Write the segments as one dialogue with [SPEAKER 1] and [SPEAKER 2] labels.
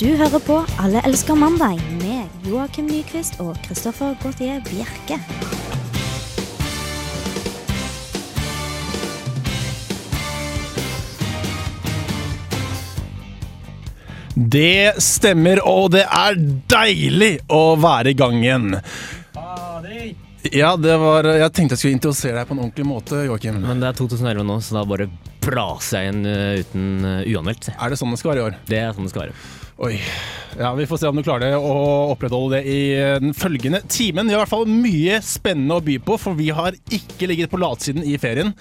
[SPEAKER 1] Du hører på Alle elsker mandag med Joakim Nyquist og Christoffer Gautier Bjerke.
[SPEAKER 2] Det stemmer, og det er deilig å være i gang igjen. Ja, det var Jeg tenkte jeg skulle introdusere deg på en ordentlig måte, Joakim.
[SPEAKER 3] Men det er 2011 nå, så da bare blaser jeg inn eh, uten eh, uanmeldt.
[SPEAKER 2] Er det sånn det skal være i år?
[SPEAKER 3] Det er sånn det skal være.
[SPEAKER 2] Oi. Ja, Vi får se om du klarer det å opprettholde det i eh, den følgende timen. Vi har i hvert fall mye spennende å by på, for vi har ikke ligget på latsiden i ferien.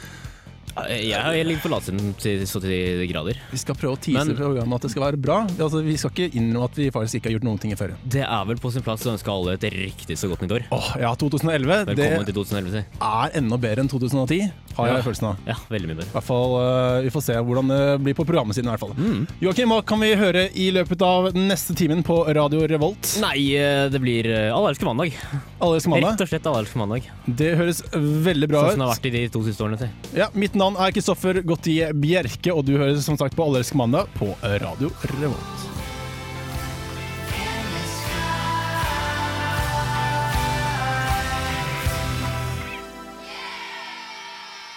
[SPEAKER 3] Eh, Jeg, jeg ligger på latsiden til så til de grader.
[SPEAKER 2] Vi skal prøve å tease
[SPEAKER 3] Men-
[SPEAKER 2] programmet at det skal være bra. Altså, Vi skal ikke innrømme at vi faktisk ikke har gjort noen ting i ferien.
[SPEAKER 3] Det er vel på sin plass å ønske alle et riktig så godt nytt år.
[SPEAKER 2] Åh, ja, 2011 det
[SPEAKER 3] Velkommen til 2011. si.
[SPEAKER 2] er enda bedre enn 2010, har jeg
[SPEAKER 3] Ja.
[SPEAKER 2] følelsen av.
[SPEAKER 3] Ja, veldig mye bedre.
[SPEAKER 2] I hvert fall, eh, Vi får se hvordan det blir på programmet siden. i hvert fall.
[SPEAKER 3] Mm.
[SPEAKER 2] Joakim, hva kan vi høre i løpet av den neste timen på Radio Revolt?
[SPEAKER 3] Nei, eh, det blir eh, Allerske mandag.
[SPEAKER 2] Alle elsker
[SPEAKER 3] Rett
[SPEAKER 2] mandag.
[SPEAKER 3] og slett Allerske mandag.
[SPEAKER 2] Det høres veldig bra
[SPEAKER 3] Sånn
[SPEAKER 2] ut.
[SPEAKER 3] som det har vært i de to siste årene. si.
[SPEAKER 2] Ja, mitt navn er Kristoffer Gautier Bjerke, og du hører som sagt på Allersk mandag på Radio Revolt.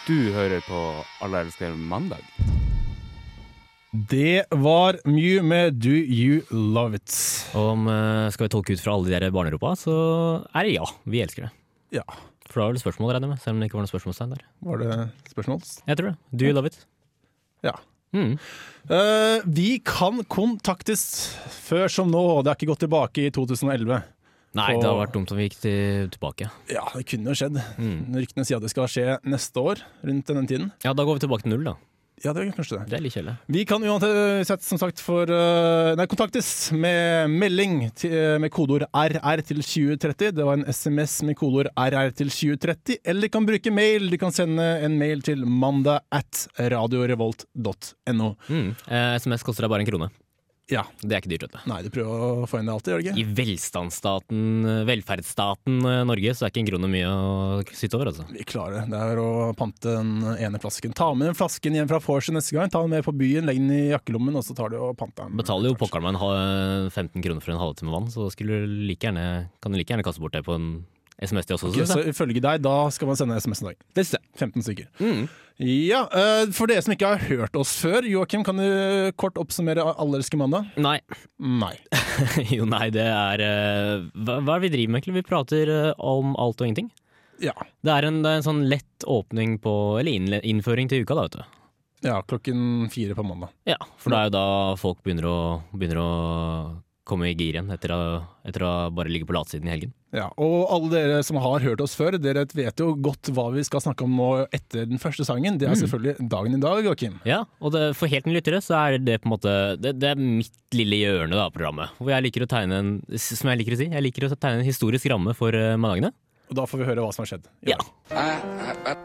[SPEAKER 4] Du hører på Alle elsker mandag.
[SPEAKER 2] Det var Mew med Do You Love It.
[SPEAKER 3] Og om eh, skal vi tolke ut fra alle de der barneropa, så er det ja. Vi elsker det.
[SPEAKER 2] Ja,
[SPEAKER 3] For da var det spørsmål, regner jeg med. Selv om det ikke var noe spørsmålstegn der.
[SPEAKER 2] var det spørsmål?
[SPEAKER 3] Jeg tror det. Do you love it?
[SPEAKER 2] Ja.
[SPEAKER 3] Mm.
[SPEAKER 2] Eh, vi kan kontaktes før som nå. Det er ikke gått tilbake i 2011.
[SPEAKER 3] Nei,
[SPEAKER 2] Og-
[SPEAKER 3] det har vært dumt om vi gikk til, tilbake.
[SPEAKER 2] Ja, det kunne jo skjedd. Ryktene sier at det skal skje neste år, rundt denne tiden.
[SPEAKER 3] Ja, da går vi tilbake til null, da.
[SPEAKER 2] Ja, det er kanskje det.
[SPEAKER 3] Det er litt kjedelig.
[SPEAKER 2] Vi kan uansett som sagt for, eh, nei, kontaktes med melding til, eh, med kodeord RR til 2030. Det var en SMS med kodeord RR til 2030. Eller kan bruke mail. Du kan sende en mail til mandag at radiorevolt.no.
[SPEAKER 3] Mm. Eh, SMS koster deg bare en krone.
[SPEAKER 2] Ja.
[SPEAKER 3] Det er ikke dyrt, vet du.
[SPEAKER 2] Nei, du prøver å få inn det alltid, gjør du ikke?
[SPEAKER 3] I velstandsstaten, eh, velferdsstaten eh, Norge, så er ikke en krone mye å sitte over, altså.
[SPEAKER 2] Vi klarer det. Det er å pante den ene flasken. Ta med den flasken hjem fra vorset neste gang. Ta den med på byen, legg den i jakkelommen, og så tar du og panter den.
[SPEAKER 3] Betaler jo pokkeren meg en ha- 15 kroner for en halvtime vann, så skulle du like gjerne, kan du like gjerne kaste bort det på en SMS til oss også,
[SPEAKER 2] Ok,
[SPEAKER 3] synes
[SPEAKER 2] så
[SPEAKER 3] jeg.
[SPEAKER 2] ifølge deg, da skal man sende SMS en dag.
[SPEAKER 3] Det synes jeg.
[SPEAKER 2] 15 stykker.
[SPEAKER 3] Mm.
[SPEAKER 2] Ja, eh, For dere som ikke har hørt oss før, Joakim, kan du kort oppsummere Allerske mandag?
[SPEAKER 3] Nei.
[SPEAKER 2] Nei.
[SPEAKER 3] Jo, nei, det er eh, hva, hva er det vi driver med, egentlig? Vi prater eh, om alt og ingenting.
[SPEAKER 2] Ja.
[SPEAKER 3] Det er en, det er en sånn lett åpning på Eller innle- innføring til uka, da, vet du.
[SPEAKER 2] ja, klokken fire på mandag.
[SPEAKER 3] Ja, for det er jo da folk begynner å, begynner å komme i gir igjen etter å, etter å bare ligge på latsiden i helgen.
[SPEAKER 2] Ja, Og alle dere som har hørt oss før, dere vet jo godt hva vi skal snakke om nå etter den første sangen.
[SPEAKER 3] Mm.
[SPEAKER 2] Det er selvfølgelig dagen i dag, Joakim.
[SPEAKER 3] Ja, og det, for helt nye lyttere så er det på en måte Det, det er mitt lille hjørne da, av programmet. Hvor jeg liker å tegne en Som jeg liker å si, jeg liker å tegne en historisk ramme for eh, mandagene.
[SPEAKER 2] Og da får vi høre hva som har skjedd. i
[SPEAKER 3] Ja.
[SPEAKER 2] dag.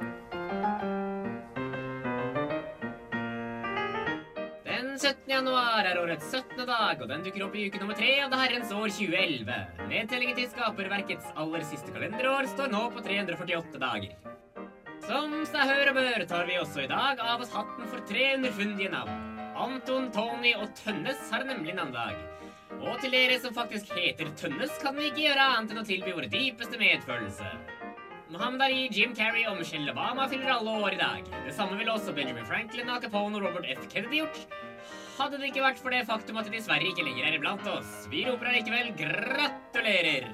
[SPEAKER 5] Den 17. januar er årets 17. dag, og den dukker opp i uke nummer 3 av det herrens år 2011. Nedtellingen til skaperverkets aller siste kalenderår står nå på 348 dager. Som seg hør og bør tar vi også i dag av oss hatten for tre underfundige navn. Anton, Tony og Tønnes har nemlig navnedag. Og til dere som faktisk heter Tønnes, kan vi ikke gjøre annet enn å tilby vår dypeste medfølelse. Mohammed Ali, Jim Carrey og Michelle Obama fyller alle år i dag. Det samme ville også Benjamin Franklin, Al Capone og Robert F. Kennedy gjort. Hadde det ikke vært for det faktum at de dessverre ikke lenger er iblant oss. Vi roper allikevel gratulerer!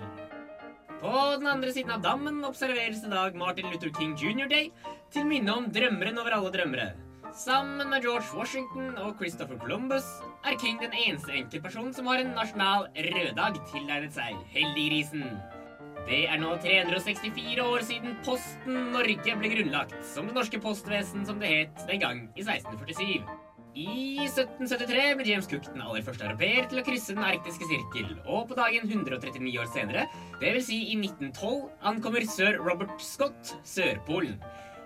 [SPEAKER 5] På den andre siden av dammen observeres i dag Martin Luther King jr. Day til minne om drømmeren over alle drømmere. Sammen med George Washington og Christopher Columbus er King den eneste enkeltpersonen som har en nasjonal røddag tilegnet seg. Heldiggrisen! Det er nå 364 år siden Posten Norge ble grunnlagt, som det norske postvesen som det het den gang i 1647. I 1773 ble James Cook den aller første europeer til å krysse den arktiske sirkel, og på dagen 139 år senere, dvs. Si i 1912, ankommer sir Robert Scott Sørpolen.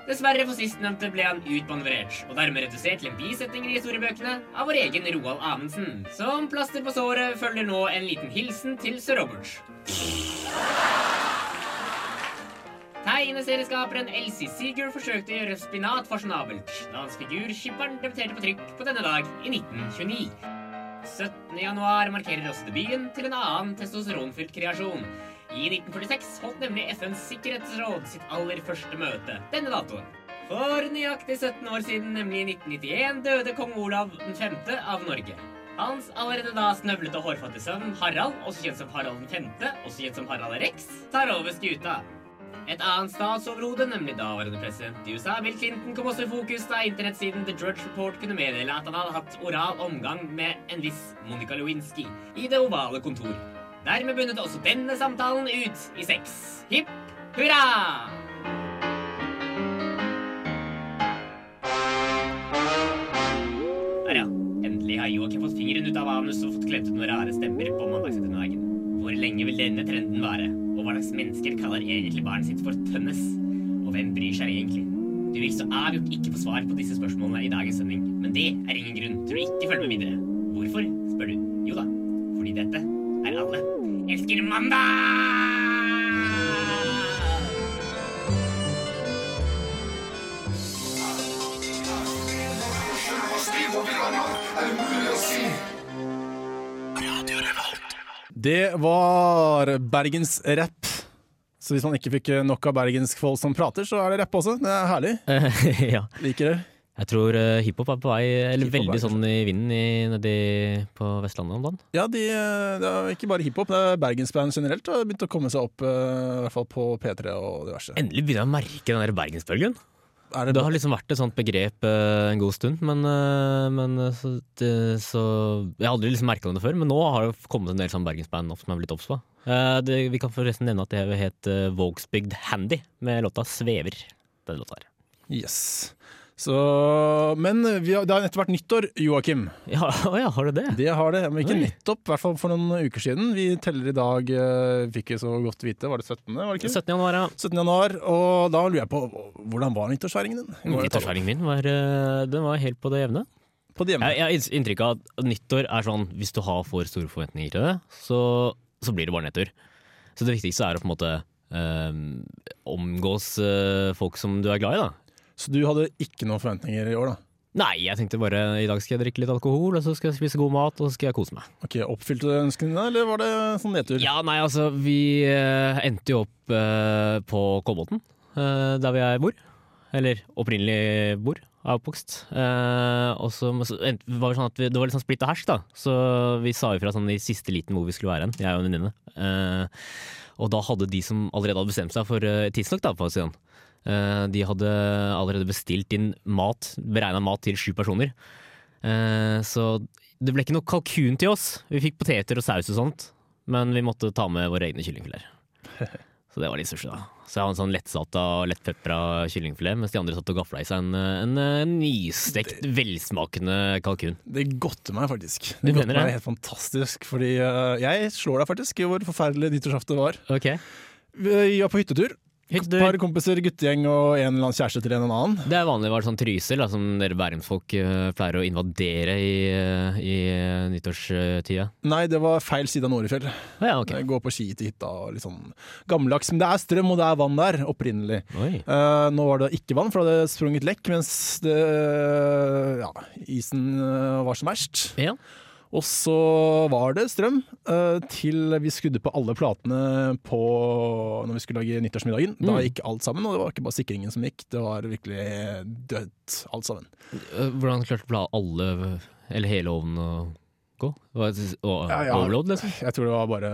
[SPEAKER 5] Dessverre for sistnevnte ble han utmanøvrert, og dermed redusert til en bisetning i historiebøkene av vår egen Roald Amundsen. Som plaster på såret følger nå en liten hilsen til sir Robert. Tegneserieskaperen Elsie Seeger forsøkte å gjøre spinat fasjonabelt da hans figur Skipperen debuterte på trykk på denne dag i 1929. 17. januar markerer også debuten til en annen testosteronfylt kreasjon. I 1946 holdt nemlig FNs sikkerhetsråd sitt aller første møte denne datoen. For nøyaktig 17 år siden, nemlig i 1991, døde kong Olav 5. av Norge. Hans allerede da snøvlete og hårfattige sønn Harald, også kjent som Harald 5., også kjent som Harald Rex, tar over skuta. Et annet statsoverhode, nemlig daværende president i USA, Bill Clinton, kom også i fokus da internettsiden The Drudge Report kunne meddele at han hadde hatt oral omgang med en viss Monica Lewinsky i det ovale kontor. Dermed bundet også denne samtalen ut i sex. Hipp hurra! Der, ja. Endelig har Joakim fått fingeren ut av anus og fått klemt ut noen rare stemmer på mandagsettermiddagen. Hvor lenge vil denne trenden vare? Og hva slags mennesker kaller egentlig barnet sitt for tønnes? Og hvem bryr seg egentlig? Du vil så avgjort ikke få svar på disse spørsmålene i dagens sending, men det er ingen grunn til å ikke følge med videre. Hvorfor, spør du. Jo da, fordi dette er alle elsker mandag!
[SPEAKER 2] Det var bergensrapp. Så hvis man ikke fikk nok av bergensk folk som prater, så er det rapp også. Det er herlig.
[SPEAKER 3] Eh. ja.
[SPEAKER 2] Liker det.
[SPEAKER 3] Jeg tror eh, hiphop er på vei, eller
[SPEAKER 2] Hiphop er
[SPEAKER 3] veldig
[SPEAKER 2] kanskje-
[SPEAKER 3] sånn i vinden i, nedi på Vestlandet om dagen.
[SPEAKER 2] Ja, de, det er ikke bare hiphop, det er bergensband generelt. Det har begynt å komme seg opp, eh, i hvert fall på P3 og diverse.
[SPEAKER 3] Endelig begynner jeg å merke den der bergensbølgen.
[SPEAKER 2] Er
[SPEAKER 3] Det har liksom vært et sånt begrep eh, en god stund, men, eh, men eh, så, det, så Jeg har aldri liksom merka det før, men nå har det kommet en del sånn bergensband opp som jeg har blitt obs på. Eh, det, vi kan forresten nevne at det het eh, Vågsbygd Handy med låta 'Svever'. Den låta her.
[SPEAKER 2] Yes. Så, men vi har, det har nettopp vært nyttår, Joakim.
[SPEAKER 3] Ja, å ja, har du det?
[SPEAKER 2] Det har det, men ikke
[SPEAKER 3] Oi.
[SPEAKER 2] nettopp, i hvert fall for noen uker siden. Vi teller i dag, eh, fikk vi så godt vite, var det 17.? Var det ikke?
[SPEAKER 3] 17. januar, ja.
[SPEAKER 2] 17. januar, og da lurer jeg på hvordan var nyttårsfeiringen din? Vi må jo ta det opp
[SPEAKER 3] Nyttårsfeiringen min var, eh, den var helt på det jevne.
[SPEAKER 2] På det hjemme.
[SPEAKER 3] Jeg, jeg har inns- inntrykk av at nyttår er sånn Hvis du har for store forventninger til det, så, så blir det bare nedtur. Så det viktigste er å på en måte ehm, omgås eh, folk som du er glad i, da.
[SPEAKER 2] Så du hadde ikke noen forventninger i år, da?
[SPEAKER 3] Nei, jeg tenkte bare i dag skal jeg drikke litt alkohol, og så skal jeg spise god mat, og så skal jeg kose meg.
[SPEAKER 2] Ok, Oppfylte du ønskene dine, eller var det sånn nedtur?
[SPEAKER 3] Ja, nei, altså, vi eh, endte jo opp eh, på Kolbotn, eh, der hvor jeg bor. Eller opprinnelig bor, er oppvokst. Eh, og så men så endte- var det sånn at vi, det var litt sånn splitt og hersk, da. Så vi sa ifra sånn i siste liten hvor vi skulle være hen, jeg og en venninne. Eh, og da hadde de som allerede hadde bestemt seg for eh, tidsnok, da, på å si sånn. eh, de hadde allerede bestilt inn mat, beregna mat til sju personer. Eh, så det ble ikke noe kalkun til oss. Vi fikk poteter og saus og sånt. Men vi måtte ta med våre egne kyllingfileter. Så det var litt sushi, da. Så jeg har en sånn lettsalta og lettpepra kyllingfilet, mens de andre satt og gafla i seg en, en, eh, nystekt, velsmakende kalkun.
[SPEAKER 2] Det godte meg faktisk.
[SPEAKER 3] Du
[SPEAKER 2] Det godte
[SPEAKER 3] mener
[SPEAKER 2] meg
[SPEAKER 3] det?
[SPEAKER 2] helt fantastisk, fordi eh, jeg slår deg faktisk i hvor forferdelig nyttårsaften var.
[SPEAKER 3] Ok,
[SPEAKER 2] Vi var på hyttetur. Et
[SPEAKER 3] Hyttetur.
[SPEAKER 2] par kompiser, guttegjeng og en eller annen kjæreste til en eller annen.
[SPEAKER 3] Det er vanlig å være sånn Trysil, da, som dere bærumsfolk eh, pleier å invadere i, eh, i eh, nyttårstida.
[SPEAKER 2] Nei, det var feil side av Norefjell.
[SPEAKER 3] Å ja, ok.
[SPEAKER 2] Gå på ski til hytta og litt sånn gammeldags. Men det er strøm, og det er vann der, opprinnelig.
[SPEAKER 3] Oi.
[SPEAKER 2] Eh, nå var det ikke vann, for det hadde sprunget lekk mens det, ja, isen eh, var som verst.
[SPEAKER 3] Ja.
[SPEAKER 2] Og så var det strøm eh, til vi skrudde på alle platene på, når vi skulle lage nyttårsmiddagen. Da
[SPEAKER 3] Mm.
[SPEAKER 2] gikk alt sammen, og det var ikke bare sikringen som gikk, det var virkelig dødt alt sammen.
[SPEAKER 3] Eh, Hvordan klarte du å la alle, eller hele ovnen, å gå? Var det- å-
[SPEAKER 2] Ja, ja.
[SPEAKER 3] Overload, liksom?
[SPEAKER 2] Jeg tror det var bare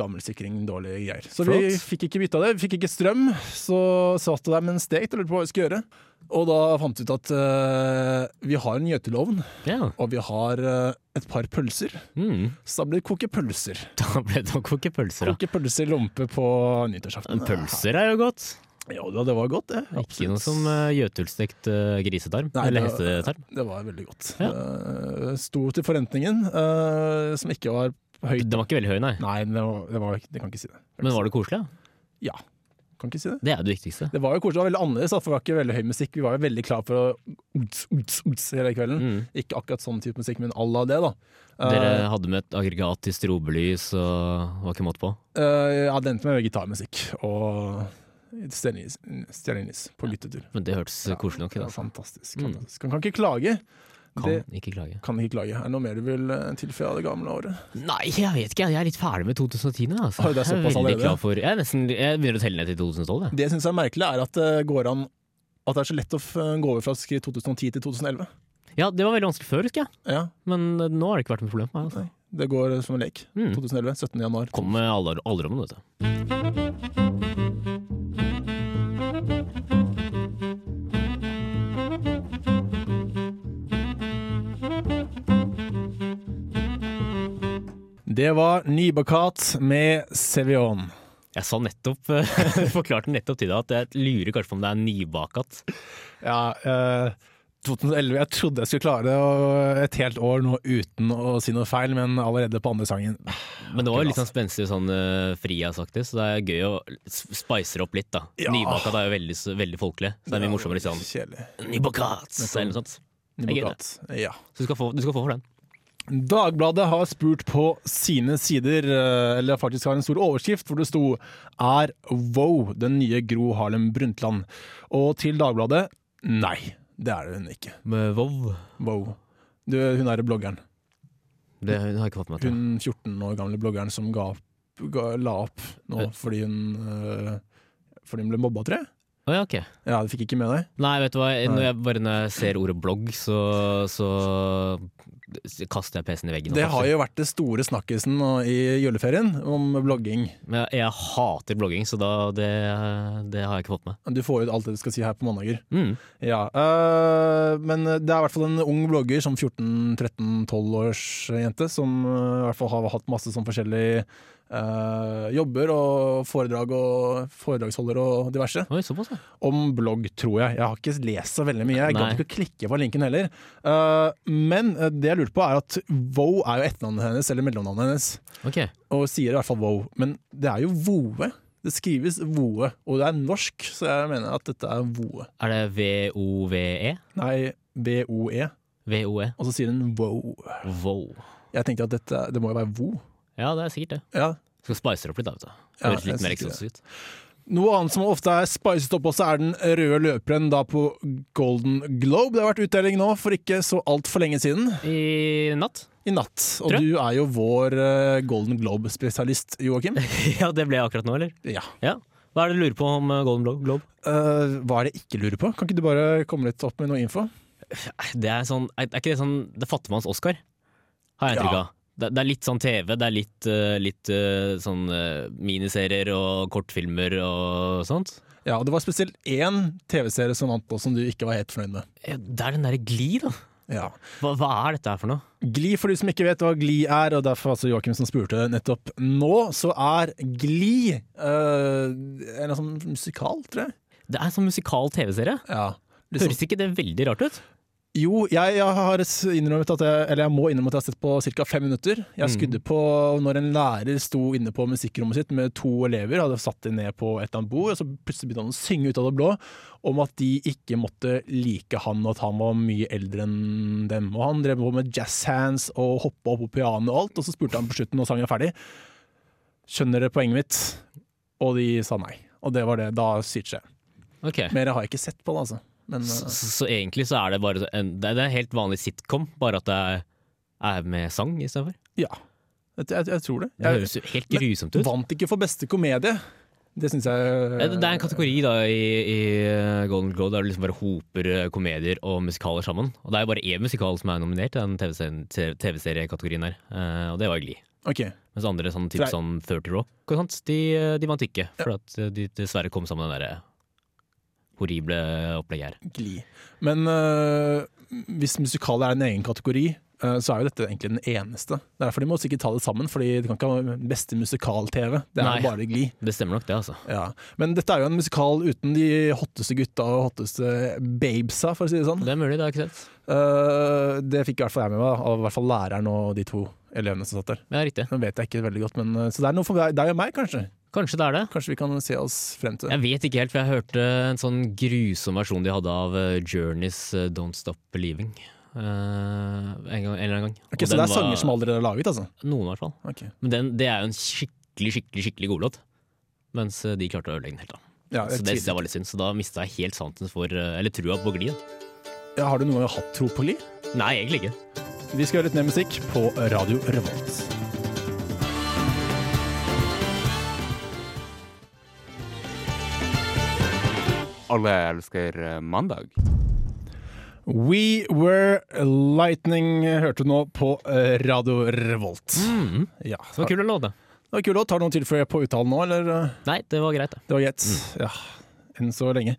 [SPEAKER 2] gammel sikring, dårlige greier. Så
[SPEAKER 3] Flott.
[SPEAKER 2] vi fikk ikke bytta det, vi fikk ikke strøm. Så satt det der med en stekt og lurte på hva vi skulle gjøre. Og da fant vi ut at eh, vi har en gjøtelovn,
[SPEAKER 3] Ja.
[SPEAKER 2] og vi har eh, et par pølser.
[SPEAKER 3] Mm.
[SPEAKER 2] Så da blir det koke pølser.
[SPEAKER 3] Da ble det å koke pølser, da.
[SPEAKER 2] Koke pølser i lompe på nyttårsaften.
[SPEAKER 3] Pølser er jo godt.
[SPEAKER 2] Ja, det det var godt, det.
[SPEAKER 3] Ikke
[SPEAKER 2] Absolutt.
[SPEAKER 3] noe som eh, gjøtulstekt eh, grisetarm
[SPEAKER 2] Nei,
[SPEAKER 3] eller
[SPEAKER 2] det-
[SPEAKER 3] hestetarm.
[SPEAKER 2] Det var veldig godt.
[SPEAKER 3] Ja.
[SPEAKER 2] Eh, Sto til forventningen, eh, som ikke var høyt.
[SPEAKER 3] Den var ikke veldig høy, nei.
[SPEAKER 2] Nei, det var, det var, jeg kan ikke si det.
[SPEAKER 3] Men var det koselig? da?
[SPEAKER 2] Ja, kan ikke si det.
[SPEAKER 3] Det er det viktigste.
[SPEAKER 2] Det var jo koselig, det var veldig annerledes, da, for det var ikke veldig høy musikk. Vi var jo veldig klar for å uts, uts, uts hele kvelden.
[SPEAKER 3] Mm.
[SPEAKER 2] Ikke akkurat sånn type musikk, men à la det, da. Eh,
[SPEAKER 3] Dere hadde med et aggregat til strobelys og var ikke måte på.
[SPEAKER 2] Eh, eh, ja, det endte med gitarmusikk og stearinlys stearinlys på guttetur.
[SPEAKER 3] Men det hørtes
[SPEAKER 2] Ja,
[SPEAKER 3] koselig nok
[SPEAKER 2] det
[SPEAKER 3] ut.
[SPEAKER 2] var
[SPEAKER 3] altså.
[SPEAKER 2] Fantastisk.
[SPEAKER 3] Mm.
[SPEAKER 2] fantastisk. Man kan ikke klage.
[SPEAKER 3] Kan
[SPEAKER 2] Det-
[SPEAKER 3] ikke klage.
[SPEAKER 2] Kan ikke klage. Er det noe mer du vil eh, tilføye av det gamle året?
[SPEAKER 3] Nei, jeg vet ikke. Jeg er litt ferdig med 2010 nå. Altså.
[SPEAKER 2] Oi, det er
[SPEAKER 3] jeg
[SPEAKER 2] såpass
[SPEAKER 3] veldig
[SPEAKER 2] allerede?
[SPEAKER 3] klar for Jeg, er nesten, jeg begynner å telle ned til 2012. Jeg.
[SPEAKER 2] Det jeg syns er merkelig, er at det går an at det er så lett å f- eh, gå over fra å skrive 2010 til 2011.
[SPEAKER 3] Ja, det var veldig vanskelig før, husker jeg.
[SPEAKER 2] Ja,
[SPEAKER 3] Men eh, nå har det ikke vært noe problem. for meg, Altså.
[SPEAKER 2] Nei. Det går eh, som en lek.
[SPEAKER 3] Mm.
[SPEAKER 2] 2011, 17. januar.
[SPEAKER 3] Kom med aldr- alderdommen, vet du.
[SPEAKER 2] Det var Nybakat med Sevion.
[SPEAKER 3] Jeg sa nettopp, eh, forklarte nettopp til deg at jeg lurer kanskje på om det er nybakat.
[SPEAKER 2] Ja, eh, 2011 Jeg trodde jeg skulle klare det og et helt år nå uten å si noe feil, men allerede på andre sangen.
[SPEAKER 3] Men det var jo litt sånn spenstig sånn eh, friasaktig, så det er gøy å s- spice det opp litt, da.
[SPEAKER 2] Ja.
[SPEAKER 3] Nybakat er jo veldig, s- veldig folkelig, så det er mye morsommere sånn
[SPEAKER 2] Kjedelig.
[SPEAKER 3] Nybakat! Eller noe sånt. Jeg gidder.
[SPEAKER 2] Nybakat. Ja.
[SPEAKER 3] Så du skal, få, du skal få for den.
[SPEAKER 2] Dagbladet har spurt på sine sider, eh, eller faktisk har en stor overskrift, hvor det sto 'Er Wow den nye Gro Harlem Brundtland?' Og til Dagbladet nei, det er det hun ikke.
[SPEAKER 3] Med Vov.
[SPEAKER 2] Wow. Du, hun er bloggeren.
[SPEAKER 3] Det har jeg ikke fått med meg.
[SPEAKER 2] Hun 14 år gamle bloggeren som ga, opp- ga, la opp nå fordi hun, eh, fordi hun ble mobba, tror jeg.
[SPEAKER 3] Å ja, ok.
[SPEAKER 2] Ja, det fikk ikke med deg.
[SPEAKER 3] Nei, vet du hva. jeg- Når
[SPEAKER 2] Nei.
[SPEAKER 3] jeg, bare når jeg ser ordet blogg, så, så kaster jeg PC-en i veggen. og
[SPEAKER 2] Det har
[SPEAKER 3] kaster-
[SPEAKER 2] jo vært det store snakkisen nå i juleferien, om blogging.
[SPEAKER 3] Men jeg, jeg hater blogging, så da, det, det har jeg ikke fått med.
[SPEAKER 2] Du får ut alt det du skal si her på mandager.
[SPEAKER 3] Mm.
[SPEAKER 2] Ja, øh, men det er i hvert fall en ung blogger som 14-13-12-års jente, som øh, i hvert fall har hatt masse sånn forskjellige øh, jobber og foredrag og foredragsholder og diverse.
[SPEAKER 3] Oi, såpass, ja.
[SPEAKER 2] Om blogg, tror jeg. Jeg har ikke lest så veldig mye. Jeg gadd
[SPEAKER 3] Nei.
[SPEAKER 2] ikke å klikke på linken heller. Eh, men eh, det jeg lurte på, er at Wow er jo etternavnet hennes, eller mellomnavnet hennes,
[SPEAKER 3] Ok.
[SPEAKER 2] og sier i hvert fall Wow. Men det er jo Voe. Det skrives Voe, og det er norsk, så jeg mener at dette er Voe.
[SPEAKER 3] Er det V-O-V-E?
[SPEAKER 2] Nei, B-O-E.
[SPEAKER 3] V-O-E?
[SPEAKER 2] Og så sier hun wow.
[SPEAKER 3] E? Wow.
[SPEAKER 2] Jeg tenkte at dette, det må jo være vo.
[SPEAKER 3] Ja, det er sikkert det.
[SPEAKER 2] Ja.
[SPEAKER 3] Skal spice det opp litt, da. vet du.
[SPEAKER 2] Ja,
[SPEAKER 3] Høres
[SPEAKER 2] jeg
[SPEAKER 3] litt mer
[SPEAKER 2] synes
[SPEAKER 3] eksotisk ut.
[SPEAKER 2] Noe annet som ofte er spicet opp også, er den røde løperen da på Golden Globe. Det har vært utdeling nå for ikke så altfor lenge siden,
[SPEAKER 3] I natt?
[SPEAKER 2] i natt. Og
[SPEAKER 3] Tror jeg.
[SPEAKER 2] du er jo vår eh, Golden Globe-spesialist, Joakim.
[SPEAKER 3] ja, det ble jeg akkurat nå, eller?
[SPEAKER 2] Ja.
[SPEAKER 3] Ja. Hva er det du lurer på om eh, Golden Glo- Globe?
[SPEAKER 2] Eh, hva er det jeg ikke lurer på? Kan ikke du bare komme litt opp med noe info?
[SPEAKER 3] Det er sånn Er er ikke det sånn Det fatter manns Oscar, har jeg inntrykk
[SPEAKER 2] Ja.
[SPEAKER 3] av. Det, det er litt sånn TV, det er litt, eh, litt eh, sånn eh, miniserier og kortfilmer og sånt.
[SPEAKER 2] Ja, og det var spesielt én TV-serie som vant, og som du ikke var helt fornøyd med.
[SPEAKER 3] Ja, Det er den derre Gli, da.
[SPEAKER 2] Ja.
[SPEAKER 3] Hva, hva er dette her for noe?
[SPEAKER 2] Gli, for de som ikke vet hva Gli er, og derfor altså Joakim som spurte nettopp nå, så er Gli eh, en sånn musikal, tror jeg.
[SPEAKER 3] Det er en sånn musikal TV-serie.
[SPEAKER 2] Ja. Liksom.
[SPEAKER 3] Høres ikke det veldig rart ut?
[SPEAKER 2] Jo, jeg, jeg har innrømmet at jeg, eller jeg må innrømme at jeg har sett på ca. fem minutter. Jeg skudde på når en lærer sto inne på musikkrommet sitt med to elever, hadde satt dem ned på et eller annet bord, og så plutselig begynte han å synge ut av det blå om at de ikke måtte like han, og at han var mye eldre enn dem. Og han drev på med jazz hands og hoppa opp på pianoet og alt, og så spurte han på slutten når sangen er ferdig Skjønner dere poenget mitt? Og de sa nei. Og det var det. Da switcher jeg.
[SPEAKER 3] Ok.
[SPEAKER 2] Mer har jeg ikke sett på det, altså. Men,
[SPEAKER 3] Så, så, så egentlig så er det bare en, det er det er en helt vanlig sitcom, bare at det er, er med sang istedenfor.
[SPEAKER 2] eh, Ja, jeg, jeg, jeg tror det.
[SPEAKER 3] Det
[SPEAKER 2] Jeg
[SPEAKER 3] høres jo helt
[SPEAKER 2] men-
[SPEAKER 3] grusomt ut.
[SPEAKER 2] vant ikke for beste komedie. Det syns jeg
[SPEAKER 3] Det det er en kategori da i, i Golden Globe der det liksom bare hoper eh, komedier og musikaler sammen. Og det er jo bare én musikal som er nominert i den TV-serien- te- TV-seriekategorien der, eh, og det var Gli.
[SPEAKER 2] Ok,
[SPEAKER 3] Mens andre sånn typ
[SPEAKER 2] Fra-
[SPEAKER 3] som 30 Rock og sånt, de, eh, de vant ikke. For at eh, de dessverre kom sammen med det derre horrible opplegget her.
[SPEAKER 2] Gli. Men øh, hvis musikal er en egen kategori, øh, så er jo dette egentlig den eneste. Det er Derfor de må sikkert ta det sammen, Fordi det kan ikke ha beste musikal-TV. Det er
[SPEAKER 3] Nei.
[SPEAKER 2] jo bare Gli.
[SPEAKER 3] Det stemmer nok, det, altså.
[SPEAKER 2] Ja. Men dette er jo en musikal uten de hotteste gutta og hotteste babesa, for å si det sånn.
[SPEAKER 3] Det er mulig, det har jeg ikke sett.
[SPEAKER 2] Øh, det fikk i hvert fall jeg med meg, av i hvert fall læreren og de to elevene som satt der.
[SPEAKER 3] Ja, riktig.
[SPEAKER 2] Nå vet jeg ikke veldig godt, men øh, Så det er noe for deg, deg og meg, kanskje.
[SPEAKER 3] Kanskje det er det.
[SPEAKER 2] Kanskje vi kan se oss frem til det.
[SPEAKER 3] Jeg vet ikke helt, for jeg hørte en sånn grusom versjon de hadde av eh, Journeys eh, Don't Stop Believing. eh, en, gang, en eller annen gang.
[SPEAKER 2] Ok, så det er sanger som allerede er laget, altså?
[SPEAKER 3] Noen, i hvert fall.
[SPEAKER 2] Ok.
[SPEAKER 3] Men den, det er jo en skikkelig, skikkelig skikkelig god låt. Mens eh, de klarte å ødelegge den helt, da.
[SPEAKER 2] Ja,
[SPEAKER 3] Så det
[SPEAKER 2] jeg
[SPEAKER 3] synes jeg var litt synd. Så da mista jeg helt sansen for eh, Eller trua på glid.
[SPEAKER 2] tviler. ja, har du noen gang hatt tro på Gli?
[SPEAKER 3] Nei, egentlig ikke.
[SPEAKER 2] Vi skal høre litt mer musikk på Radio Revolt.
[SPEAKER 4] Alle elsker eh, mandag.
[SPEAKER 2] We Were Lightning hørte du nå på eh, Radio Revolt. Ja.
[SPEAKER 3] Mm. Det var kul låt, da.
[SPEAKER 2] Det var kul låt. Har du noe å tilføye på uttalen nå, eller? eh?
[SPEAKER 3] Nei, det var greit, det.
[SPEAKER 2] Det var gjett.
[SPEAKER 3] Mm.
[SPEAKER 2] Ja, enn så lenge.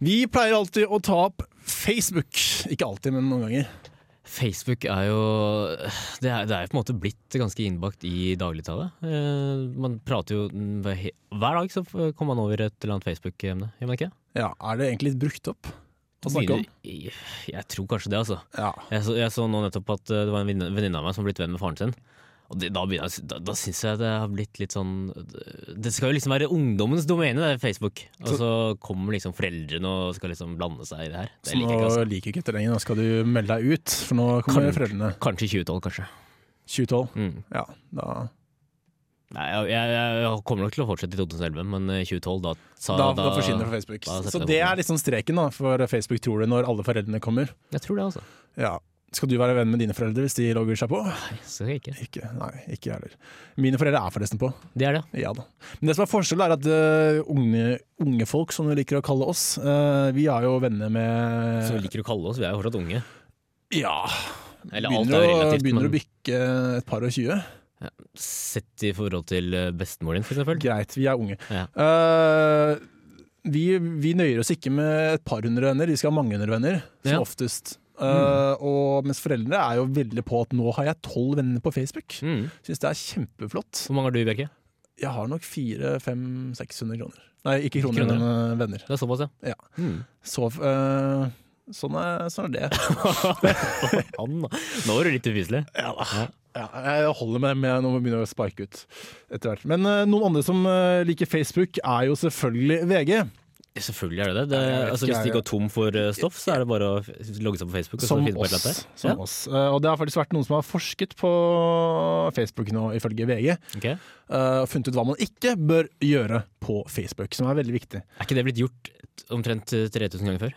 [SPEAKER 2] Vi pleier alltid å ta opp Facebook. Ikke alltid, men noen ganger.
[SPEAKER 3] Facebook er jo Det er, det er jo på en måte blitt ganske innbakt i dagligtale. Eh, man prater jo hver, he- hver dag, så kommer man over et eller annet Facebook-emne, gjør man ikke?
[SPEAKER 2] Ja, Er det egentlig litt brukt opp å snakke om?
[SPEAKER 3] Jeg, jeg tror kanskje det, altså.
[SPEAKER 2] Ja.
[SPEAKER 3] Jeg så, jeg så nå nettopp at eh, det var en venninne- venninne av meg som har blitt venn med faren sin. Og det, da, begynner jeg, da, da syns jeg det har blitt litt sånn Det skal jo liksom være ungdommens domene, det er Facebook. Og så kommer liksom foreldrene og skal liksom blande seg i det her.
[SPEAKER 2] Så
[SPEAKER 3] Det
[SPEAKER 2] nå
[SPEAKER 3] liker jeg ikke, altså.
[SPEAKER 2] liker ikke dette lenger. Nå skal du melde deg ut, for nå kommer
[SPEAKER 3] Kan-
[SPEAKER 2] foreldrene.
[SPEAKER 3] Kanskje i 2012, kanskje.
[SPEAKER 2] 2012.
[SPEAKER 3] Mm.
[SPEAKER 2] Ja, da,
[SPEAKER 3] Nei, jeg, jeg, jeg kommer nok til å fortsette i 2011, men i 2012 da, sa,
[SPEAKER 2] da, da forsvinner det fra Facebook.
[SPEAKER 3] da setter
[SPEAKER 2] Så
[SPEAKER 3] jeg
[SPEAKER 2] det
[SPEAKER 3] foten.
[SPEAKER 2] er liksom streken da for Facebook, tror du, når alle foreldrene kommer.
[SPEAKER 3] Jeg tror det, altså.
[SPEAKER 2] Ja. Skal du være venn med dine foreldre hvis de logger seg på?
[SPEAKER 3] Nei, så skal jeg ikke.
[SPEAKER 2] Ikke, nei, ikke jeg heller. Mine foreldre er forresten på.
[SPEAKER 3] Det er det.
[SPEAKER 2] Ja da. Men det som er forskjellen er at eh, unge, unge folk, som du liker å kalle oss, eh, vi er jo venner med
[SPEAKER 3] Som vi liker å kalle oss, vi er jo fortsatt unge.
[SPEAKER 2] Ja.
[SPEAKER 3] Eller alt
[SPEAKER 2] Begynner,
[SPEAKER 3] er
[SPEAKER 2] å,
[SPEAKER 3] relativt,
[SPEAKER 2] begynner å
[SPEAKER 3] men
[SPEAKER 2] bikke et par og tjue.
[SPEAKER 3] sett i forhold til eh, bestemoren din, for eksempel.
[SPEAKER 2] Greit, vi er unge.
[SPEAKER 3] Ja.
[SPEAKER 2] Eh, vi, vi nøyer oss ikke med et par hundre venner, vi skal ha mange hundre venner, som
[SPEAKER 3] Ja. Mm.
[SPEAKER 2] oftest. Eh, og mens foreldre er jo veldig på at nå har jeg tolv venner på Facebook.
[SPEAKER 3] Mm.
[SPEAKER 2] Syns det er kjempeflott.
[SPEAKER 3] Hvor mange har du, Bjerke?
[SPEAKER 2] Jeg har nok fire, fem, seks hundre kroner. Nei, ikke kroner,
[SPEAKER 3] Kroner,
[SPEAKER 2] men eh, venner.
[SPEAKER 3] Det er såpass,
[SPEAKER 2] Ja.
[SPEAKER 3] Mm.
[SPEAKER 2] Så, eh, sånn, er, sånn er det.
[SPEAKER 3] Han, da. Nå var du litt ufyselig. Ja da.
[SPEAKER 2] Ja, jeg holder meg med når vi begynner å sparke ut etter hvert. Men eh, noen andre som eh, liker Facebook, er jo selvfølgelig VG.
[SPEAKER 3] Selvfølgelig er det det. det
[SPEAKER 2] Jeg vet ikke,
[SPEAKER 3] altså, hvis du
[SPEAKER 2] jeg-
[SPEAKER 3] ikke går tom for eh, stoff, så er det bare å f- logge seg på Facebook. Og så
[SPEAKER 2] Som
[SPEAKER 3] finne på et eller
[SPEAKER 2] oss.
[SPEAKER 3] annet der.
[SPEAKER 2] Som oss. Eh, og det har faktisk vært noen som har forsket på Facebook nå, ifølge VG, eh,
[SPEAKER 3] Ja. ok.
[SPEAKER 2] og funnet ut hva man ikke bør gjøre på Facebook, som er veldig viktig.
[SPEAKER 3] Er ikke det blitt gjort omtrent eh, 3000 ganger før?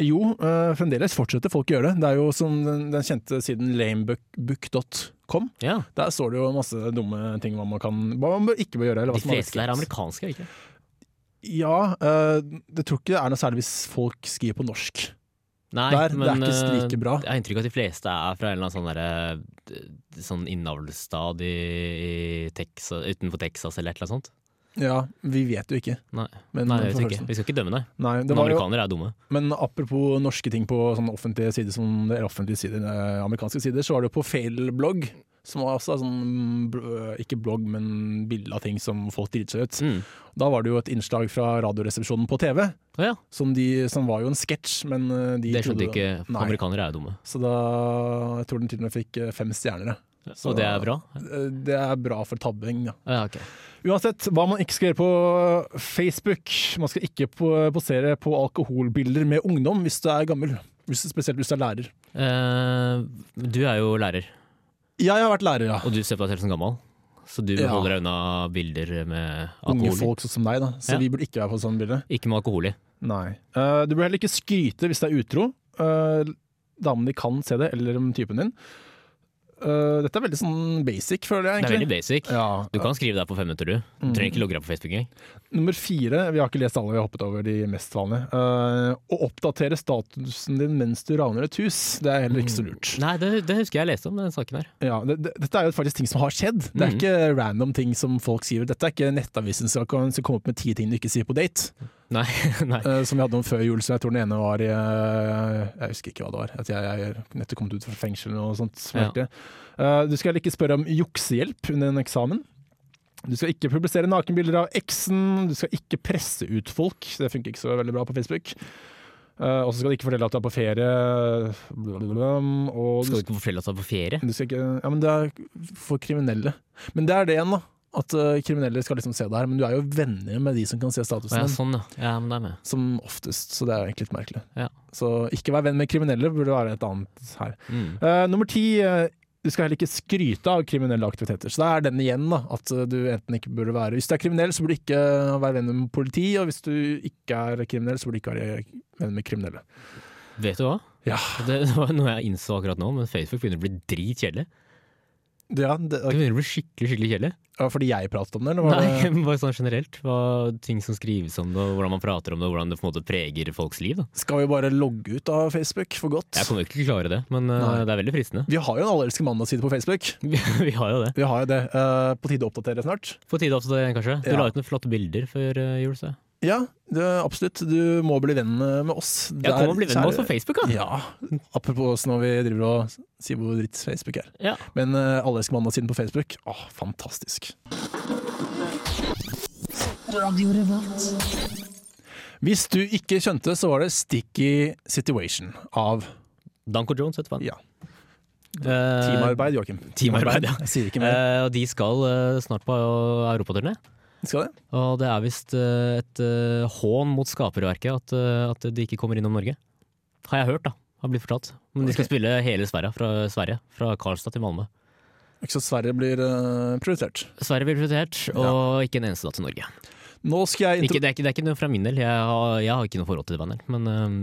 [SPEAKER 2] Jo, eh, fremdeles fortsetter folk å gjøre det. Det er jo som den, den kjente siden lamebuck.com.
[SPEAKER 3] Ja.
[SPEAKER 2] Der står det jo masse dumme ting hva man, kan, hva man bør- ikke bør gjøre. Eller hva
[SPEAKER 3] De
[SPEAKER 2] som er
[SPEAKER 3] fleste der er
[SPEAKER 2] rett.
[SPEAKER 3] amerikanske, er det ikke?
[SPEAKER 2] Ja, eh, jeg tror ikke det er noe særlig hvis folk skriver på norsk.
[SPEAKER 3] Nei,
[SPEAKER 2] Der, det er
[SPEAKER 3] men,
[SPEAKER 2] ikke
[SPEAKER 3] eh,
[SPEAKER 2] like bra.
[SPEAKER 3] Jeg har inntrykk av at de fleste er fra en eller annen sånn, derre, eh, sånn innavlsstad i, i Texas, utenfor Texas eller et eller annet sånt.
[SPEAKER 2] Ja, vi vet jo ikke.
[SPEAKER 3] Nei,
[SPEAKER 2] Men,
[SPEAKER 3] nei
[SPEAKER 2] men
[SPEAKER 3] jeg vet
[SPEAKER 2] forfølgelsen.
[SPEAKER 3] ikke. vi skal ikke dømme, nei.
[SPEAKER 2] Nei, det
[SPEAKER 3] Men
[SPEAKER 2] var jo,
[SPEAKER 3] amerikanere er dumme.
[SPEAKER 2] men apropos norske ting på sånne offentlige sider, som, eller offentlige sider, eh, amerikanske sider, så var det jo på Failblogg, som var også sånn, bl- ikke blogg, men bilde av ting som folk driter seg ut.
[SPEAKER 3] Mm.
[SPEAKER 2] Da var det jo et innslag fra radioresepsjonen på TV,
[SPEAKER 3] Å ja,
[SPEAKER 2] som, de, som var jo en sketsj, men eh, de
[SPEAKER 3] det
[SPEAKER 2] trodde-
[SPEAKER 3] skjønte ikke.
[SPEAKER 2] Nei.
[SPEAKER 3] Amerikanere er dumme.
[SPEAKER 2] Så da jeg tror den til og med fikk eh, fem stjerner. jeg. Så-
[SPEAKER 3] og det er bra?
[SPEAKER 2] Eh, Det er bra for tabbing, ja.
[SPEAKER 3] Ja, ok.
[SPEAKER 2] Uansett hva man ikke skal gjøre på Facebook. Man skal ikke po- posere på alkoholbilder med ungdom hvis du er gammel. Hvis, spesielt hvis du er lærer.
[SPEAKER 3] Eh, du er jo lærer,
[SPEAKER 2] Jeg har vært lærer, ja.
[SPEAKER 3] og du ser på deg selv som gammel. Så du
[SPEAKER 2] Ja.
[SPEAKER 3] holder deg unna bilder med
[SPEAKER 2] Unge
[SPEAKER 3] alkohol. i.
[SPEAKER 2] folk sånn som deg, da. Så
[SPEAKER 3] Ja.
[SPEAKER 2] vi burde ikke være på sånne bilder.
[SPEAKER 3] Ikke med alkohol i.
[SPEAKER 2] Nei. Eh, du bør heller ikke skryte hvis det er utro. Uh, damen din kan se det, eller om typen din. Eh, dette er veldig sånn basic, føler jeg.
[SPEAKER 3] Det er
[SPEAKER 2] egentlig.
[SPEAKER 3] veldig basic.
[SPEAKER 2] Ja.
[SPEAKER 3] Du kan skrive deg på fem minutter, du. Du trenger ikke logge deg på Facebook engang.
[SPEAKER 2] Nummer fire, vi har ikke lest alle, vi har hoppet over de mest vanlige. Eh, å oppdatere statusen din mens du raner et hus, det er heller ikke så lurt.
[SPEAKER 3] Nei, det, det husker jeg leste om den saken her.
[SPEAKER 2] Ja, det, det, dette er jo faktisk ting som har skjedd. Det er
[SPEAKER 3] Mhm.
[SPEAKER 2] ikke random ting som folk skriver. Dette er ikke Nettavisen som kan som kommer opp med ti ting du ikke sier på date,
[SPEAKER 3] Nei, nei.
[SPEAKER 2] eh, som vi hadde om før jul. Så jeg tror den ene var i eh, Jeg husker ikke hva det var. At jeg, jeg er nettopp kommet ut fra fengsel eller noe sånt. som
[SPEAKER 3] Ja.
[SPEAKER 2] heter det. Eh, du skal heller ikke spørre om juksehjelp under en eksamen. Du skal ikke publisere nakenbilder av eksen. Du skal ikke presse ut folk. Det funker ikke så veldig bra på Facebook. Eh, og så skal du ikke fortelle at du er på ferie. Blablabla. Og
[SPEAKER 3] Skal du ikke fortelle at du er på ferie?
[SPEAKER 2] Du skal ikke, ja, men det er for kriminelle. Men det er det igjen, da. At eh, kriminelle skal liksom se det her. Men du er jo venner med de som kan se
[SPEAKER 3] Å, ja,
[SPEAKER 2] statusen din.
[SPEAKER 3] sånn, ja. ja men det er med.
[SPEAKER 2] Som oftest, så det er jo egentlig litt merkelig.
[SPEAKER 3] Ja.
[SPEAKER 2] Så ikke vær venn med kriminelle, burde være et annet her.
[SPEAKER 3] Mm.
[SPEAKER 2] Eh, nummer ti. eh, du skal heller ikke skryte av kriminelle aktiviteter. Så det er den igjen, da. At eh, du enten ikke burde være Hvis du er kriminell, så burde du ikke være venn med politi. Og hvis du ikke er kriminell, så burde du ikke være venn med kriminelle.
[SPEAKER 3] Vet du hva?
[SPEAKER 2] Ja.
[SPEAKER 3] Og Det var noe jeg innså akkurat nå, men Facebook begynner å bli dritkjedelig.
[SPEAKER 2] Ja, det,
[SPEAKER 3] Det begynner å bli skikkelig skikkelig kjedelig.
[SPEAKER 2] var det fordi jeg pratet om det, eller var
[SPEAKER 3] Nei,
[SPEAKER 2] det
[SPEAKER 3] men bare sånn generelt. Hva, ting som skrives om det, og hvordan man prater om det, og hvordan det på en måte preger folks liv. Da.
[SPEAKER 2] Skal vi bare logge ut av Facebook for godt?
[SPEAKER 3] Jeg kommer ikke til å klare det, men eh,
[SPEAKER 2] Nei.
[SPEAKER 3] det er veldig fristende.
[SPEAKER 2] Vi har jo en Allelske mandag-side på Facebook.
[SPEAKER 3] Vi vi har jo det.
[SPEAKER 2] Vi har jo det. Eh, på tide å oppdatere snart.
[SPEAKER 3] På tide også, det, kanskje. Du
[SPEAKER 2] Ja.
[SPEAKER 3] la ut noen flotte bilder før eh, jul, så jeg.
[SPEAKER 2] Ja, det, absolutt. Du må bli venn med oss.
[SPEAKER 3] Ja, kom
[SPEAKER 2] Der,
[SPEAKER 3] og bli venn
[SPEAKER 2] kjære-
[SPEAKER 3] med oss på Facebook, da!
[SPEAKER 2] Ja, apropos oss når vi driver og sier hvor dritt Facebook er.
[SPEAKER 3] Ja.
[SPEAKER 2] Men uh, Allelske mandag-siden på Facebook, åh, fantastisk. Hvis du ikke skjønte, så var det Sticky Situation av
[SPEAKER 3] Danko Jones, vet du hva.
[SPEAKER 2] Ja.
[SPEAKER 3] Eh,
[SPEAKER 2] Teamarbeid, Joakim.
[SPEAKER 3] teamarbeid, ja.
[SPEAKER 2] Jeg sier ikke mer.
[SPEAKER 3] eh, og de skal eh, snart på eh, europaturné.
[SPEAKER 2] Skal det?
[SPEAKER 3] Og det er visst eh, et eh, hån mot skaperverket at, eh, at de ikke kommer innom Norge. Har jeg hørt, da. Har blitt fortalt. Men de skal
[SPEAKER 2] Ok.
[SPEAKER 3] spille hele Sverige, fra Sverige. Fra Karlstad til Malmö.
[SPEAKER 2] Ikke så Sverige blir eh, prioritert.
[SPEAKER 3] Sverige blir prioritert, og ikke en eneste da til Norge.
[SPEAKER 2] Nå skal jeg
[SPEAKER 3] Ikke,
[SPEAKER 2] intro...
[SPEAKER 3] det, er ikke, det er ikke noe fra min del, jeg har, jeg har ikke noe forhold til det bandet, men øhm,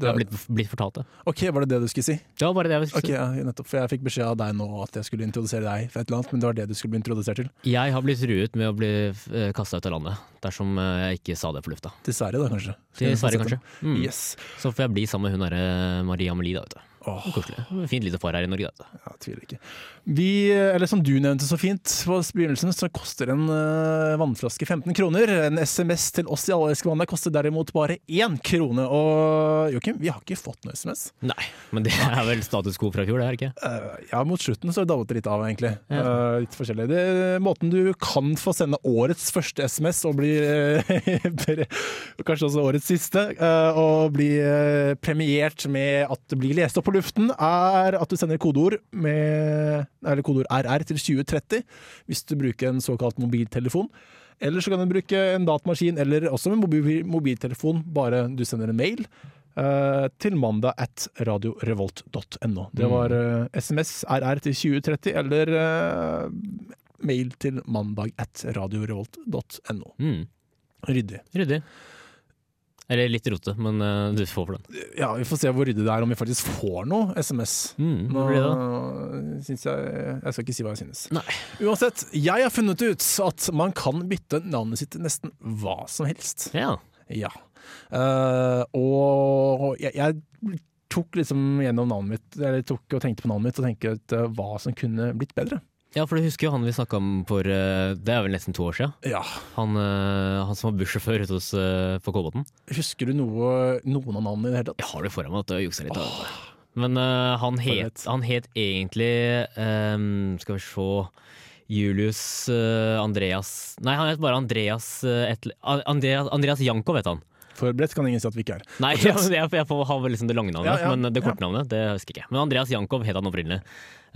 [SPEAKER 3] det har
[SPEAKER 2] Det-
[SPEAKER 3] blitt, blitt fortalt det.
[SPEAKER 2] Ok, var det det du skulle si?
[SPEAKER 3] Det var bare det jeg ville
[SPEAKER 2] Ok,
[SPEAKER 3] si.
[SPEAKER 2] ja, nettopp. For jeg fikk beskjed av deg nå at jeg skulle introdusere deg for et eller annet, men det var det du skulle bli introdusert til.
[SPEAKER 3] Jeg har blitt truet med å bli kasta ut av landet dersom øh, jeg ikke sa det på lufta.
[SPEAKER 2] Til Sverige, da, kanskje.
[SPEAKER 3] Til Sverige, kanskje. Mm.
[SPEAKER 2] Yes.
[SPEAKER 3] Så får jeg bli sammen med hun derre Maria Amelie, da, vet du.
[SPEAKER 2] Åh,
[SPEAKER 3] Koselig. Fint lite par her i Norge, da. vet du.
[SPEAKER 2] jeg tviler ikke. Vi, eller som du nevnte så fint på begynnelsen, så koster en eh, vannflaske 15 kroner. En SMS til oss i Allerske Vannet koster derimot bare én krone. Og Joakim, vi har ikke fått noe SMS.
[SPEAKER 3] Nei, men det er vel status quo fra fjor, det er det ikke?
[SPEAKER 2] Eh, ja, mot slutten så dabbet det litt av, egentlig. Eh, litt forskjellig. Det, måten du kan få sende årets første SMS, og bli eh, pre- kanskje også årets siste, eh, og bli eh, premiert med at det blir lest opp på luften, er at du sender kodeord, med, eller kodeord RR til 2030, hvis du bruker en såkalt mobiltelefon. Eller så kan du bruke en datamaskin eller også en mobi- mobiltelefon, bare du sender en mail eh, til mandag at radiorevolt.no. Det var eh, SMS RR til 2030 eller eh, mail til mandag at radiorevolt.no.
[SPEAKER 3] Mm.
[SPEAKER 2] Ryddig.
[SPEAKER 3] Ryddig. Eller litt rote, men øh, du får for den.
[SPEAKER 2] Ja, vi får se hvor ryddig det er om vi faktisk får noe SMS.
[SPEAKER 3] Mm,
[SPEAKER 2] Nå
[SPEAKER 3] hva blir det da?
[SPEAKER 2] syns jeg Jeg skal ikke si hva jeg synes.
[SPEAKER 3] Nei.
[SPEAKER 2] Uansett, jeg har funnet ut at man kan bytte navnet sitt til nesten hva som helst.
[SPEAKER 3] Ja.
[SPEAKER 2] Ja. Eh, og jeg, jeg tok liksom gjennom navnet mitt, eller tok og tenkte på navnet mitt og tenkte ut eh, hva som kunne blitt bedre.
[SPEAKER 3] ja, for du husker jo han vi snakka om for øh, Det er vel nesten to år sia?
[SPEAKER 2] Ja.
[SPEAKER 3] Han, eh, han som var bussjåfør ute hos, eh, på Kolbotn.
[SPEAKER 2] Husker du noe, noen av navnene i det hele tatt?
[SPEAKER 3] Jeg har det foran meg at jeg juksa litt. da. Men eh, han, het,
[SPEAKER 2] Forberedt.
[SPEAKER 3] han het egentlig eh, Skal vi se Julius eh, Andreas Nei, han het bare Andreas eh, et, Andreas, Andreas Janko, vet han.
[SPEAKER 2] Forberedt kan ingen si at vi ikke er.
[SPEAKER 3] Nei, jeg, jeg, får- jeg får ha liksom det lange navnet,
[SPEAKER 2] Ja, ja,
[SPEAKER 3] men det korte
[SPEAKER 2] ja.
[SPEAKER 3] navnet det husker jeg ikke. Men Andreas Jankov het han opprinnelig.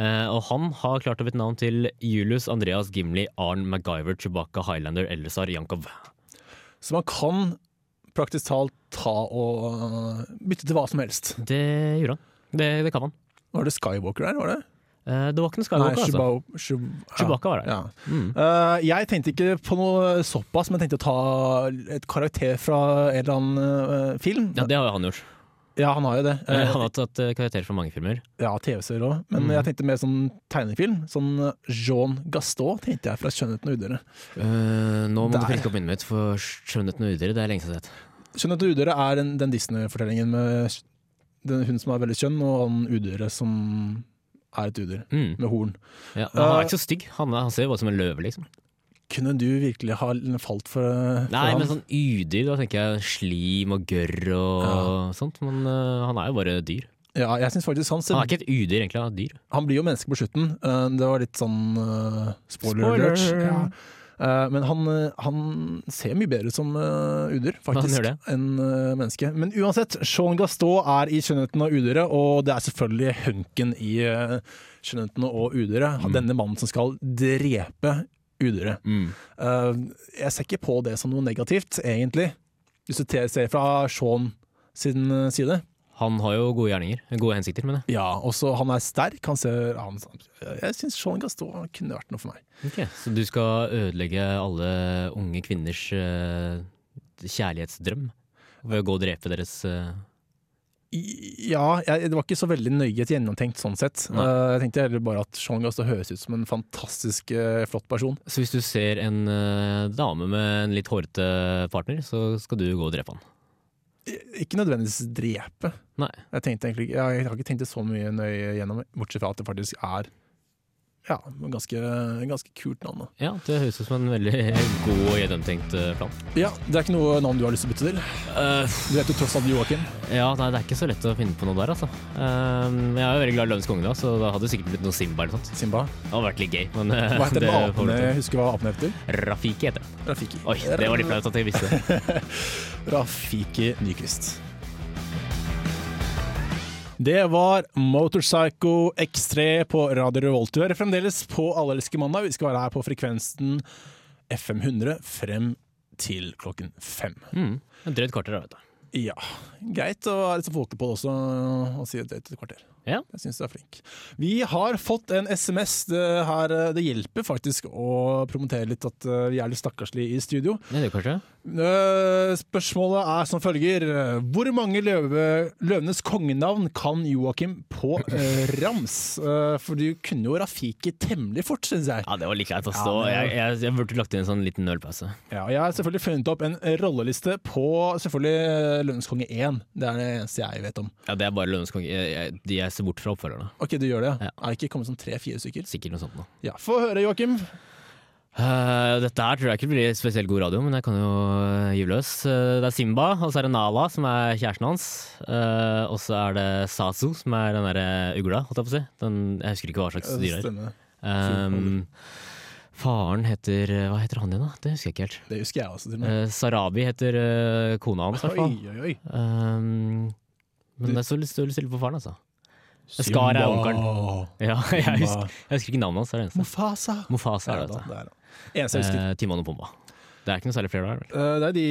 [SPEAKER 3] Eh, og han har klart å bytte navn til Julius Andreas Gimli Arn MacGyver Chewbacca Highlander Elzar Jankov.
[SPEAKER 2] Så man kan praktisk talt ta og eh, bytte til hva som helst.
[SPEAKER 3] Det gjorde han. Det, det kan han.
[SPEAKER 2] Var det Skywalker der, var det?
[SPEAKER 3] Eh, det var ikke noe Skywalker, altså.
[SPEAKER 2] Chewbau- Chew- ja.
[SPEAKER 3] Chewbacca var det.
[SPEAKER 2] Ja.
[SPEAKER 3] Mm.
[SPEAKER 2] Eh, jeg tenkte ikke på noe såpass, men jeg tenkte å ta et karakter fra en eller annen eh, film.
[SPEAKER 3] Ja, det har jo han gjort.
[SPEAKER 2] Ja, han har jo det.
[SPEAKER 3] Eh,
[SPEAKER 2] Eh,
[SPEAKER 3] Han har tatt eh, karakter fra mange filmer.
[SPEAKER 2] Ja, TV-serier òg, men
[SPEAKER 3] Mhm.
[SPEAKER 2] jeg tenkte mer sånn tegnefilm. Sånn Jean Gaston tenkte jeg fra 'Skjønnheten og udøret'.
[SPEAKER 3] Eh, nå må
[SPEAKER 2] Der.
[SPEAKER 3] du friske opp minnet mitt, for 'Skjønnheten og udøret' det er lenge siden jeg har sett.
[SPEAKER 2] 'Skjønnheten og udøret' er den, den Disney-fortellingen med s- den, hun som er veldig skjønn, og han udøret som er et udyr,
[SPEAKER 3] Mm.
[SPEAKER 2] med horn.
[SPEAKER 3] Ja, men han er ikke så stygg. Han, er, han ser jo bare ut som en løve, liksom.
[SPEAKER 2] Kunne du virkelig ha falt for, for
[SPEAKER 3] Nei,
[SPEAKER 2] ham?
[SPEAKER 3] men sånn udyr, da tenker jeg slim og gørr og sånt. Men eh, han er jo bare dyr.
[SPEAKER 2] Ja, jeg synes faktisk han, ser,
[SPEAKER 3] Han
[SPEAKER 2] han,
[SPEAKER 3] er ikke et udyr, egentlig. Han er et dyr.
[SPEAKER 2] blir jo menneske på slutten. Eh, Det var litt sånn eh, spoiler,
[SPEAKER 3] Spoiler.
[SPEAKER 2] alert. Ja. Eh, Men han, eh, han ser mye bedre ut som eh, udyr,
[SPEAKER 3] Han gjør
[SPEAKER 2] faktisk,
[SPEAKER 3] det.
[SPEAKER 2] enn eh, menneske. Men uansett, Sean Gaston er i 'Skjønnheten og udyret', og det er selvfølgelig hunken i eh, 'Skjønnheten og udyret'. Han- Denne mannen som skal drepe udyret. Eh, Jeg ser ikke på det som noe negativt, egentlig, hvis du te- ser fra Sean sin eh, side.
[SPEAKER 3] Han har jo gode gjerninger. Gode hensikter, mener jeg.
[SPEAKER 2] Ja, også han er sterk. Han ser, han, jeg syns Sean Gaston kunne vært noe for meg.
[SPEAKER 3] Så du skal ødelegge alle unge kvinners eh, kjærlighetsdrøm ved å gå og drepe deres eh,
[SPEAKER 2] Ja, jeg, det var ikke så veldig nøye gjennomtenkt sånn sett.
[SPEAKER 3] Nei.
[SPEAKER 2] Eh, jeg tenkte heller bare at Sean Gass høres ut som en fantastisk eh, flott person.
[SPEAKER 3] Så hvis du ser en eh, dame med en litt hårete partner, så skal du gå og drepe han.
[SPEAKER 2] I- Ikke nødvendigvis drepe.
[SPEAKER 3] Nei.
[SPEAKER 2] Jeg, tenkte egentlig, ikke- jeg har ikke tenkt det så mye nøye gjennom, bortsett fra at det faktisk er ja, en ganske, en ganske kult navn. Da.
[SPEAKER 3] Ja, det høres ut som en veldig god og gjennomtenkt eh, plan.
[SPEAKER 2] Ja, Det er ikke noe navn du har lyst til å bytte til?
[SPEAKER 3] Eh,
[SPEAKER 2] Du heter jo tross alt Joakim.
[SPEAKER 3] ja, nei, det er ikke så lett å finne på noe der, altså. Eh, jeg er jo veldig glad i Løvens konge, da, så da hadde det sikkert blitt noe Simba eller sånt.
[SPEAKER 2] Simba.
[SPEAKER 3] Det hadde vært litt gøy, men eh,
[SPEAKER 2] Hva heter den
[SPEAKER 3] det får
[SPEAKER 2] apen?
[SPEAKER 3] du til.
[SPEAKER 2] Jeg husker hva apen heter.
[SPEAKER 3] Rafiki heter den.
[SPEAKER 2] Rafiki.
[SPEAKER 3] Oi, det var litt flaut at jeg visste det.
[SPEAKER 2] Rafiki Nyquist. Det var Motorpsycho X3 på Radio Revolt. Du hører fremdeles på Allelske mandag. Vi skal være her på frekvensen FM 100 frem til klokken fem.
[SPEAKER 3] Mm. En drøyt kvarter, da, vet du.
[SPEAKER 2] Ja, greit å være litt så folkelig på det også og si et drøyt et kvarter.
[SPEAKER 3] Ja.
[SPEAKER 2] Jeg syns du er flink. Vi har fått en SMS. Det, her, det hjelper faktisk å promotere litt at eh, vi er litt stakkarslige i studio.
[SPEAKER 3] Det er det kanskje?
[SPEAKER 2] Eh, Spørsmålet er som følger. Hvor mange løve, løvenes kongenavn kan Joakim på eh, rams? Eh, for du kunne jo Rafiki temmelig fort, syns jeg.
[SPEAKER 3] Ja, det var litt greit å
[SPEAKER 2] Ja,
[SPEAKER 3] stå.
[SPEAKER 2] men-
[SPEAKER 3] Jeg, jeg, jeg burde lagt inn en sånn liten ølpause.
[SPEAKER 2] Ja, jeg har selvfølgelig funnet opp en rolleliste på selvfølgelig eh, Løvenes konge 1. Det er det eneste jeg vet om.
[SPEAKER 3] Ja, det er bare Løvens konge. Jeg, jeg, de jeg ser bort fra oppfølgerne.
[SPEAKER 2] Ok, du gjør det?
[SPEAKER 3] Ja.
[SPEAKER 2] Er det ikke kommet sånn tre-fire stykker?
[SPEAKER 3] Sikkert noe sånt noe.
[SPEAKER 2] Ja, Få høre, Joakim.
[SPEAKER 3] Eh, dette her tror jeg ikke blir spesielt god radio, men jeg kan jo eh, gyve løs. Eh, det er Simba, og så er det Nala, som er kjæresten hans. Eh, og så er det Sasu, som er den derre ugla, holdt jeg på å si. Den, jeg husker ikke hva slags dyr det er.
[SPEAKER 2] Stemmer.
[SPEAKER 3] Ehm, faren heter Hva heter han igjen, da? Det husker jeg ikke helt.
[SPEAKER 2] Det husker jeg også. til og med.
[SPEAKER 3] Eh, Sarabi heter eh, kona hans, i
[SPEAKER 2] Oi,
[SPEAKER 3] hvert fall.
[SPEAKER 2] oi, oi.
[SPEAKER 3] Ehm, men det står litt står litt stille på faren, altså. Scar
[SPEAKER 2] Skar
[SPEAKER 3] er onkelen. Ja, jeg husker, jeg husker ikke navnet hans, det er det eneste.
[SPEAKER 2] Mofasa.
[SPEAKER 3] Mofasa
[SPEAKER 2] Der,
[SPEAKER 3] er
[SPEAKER 2] da.
[SPEAKER 3] det,
[SPEAKER 2] Der, da. Eneste jeg
[SPEAKER 3] vet
[SPEAKER 2] husker.
[SPEAKER 3] du. Eh, Timon og Pumba. Det er ikke noe særlig flere der, vel?
[SPEAKER 2] Eh, det er de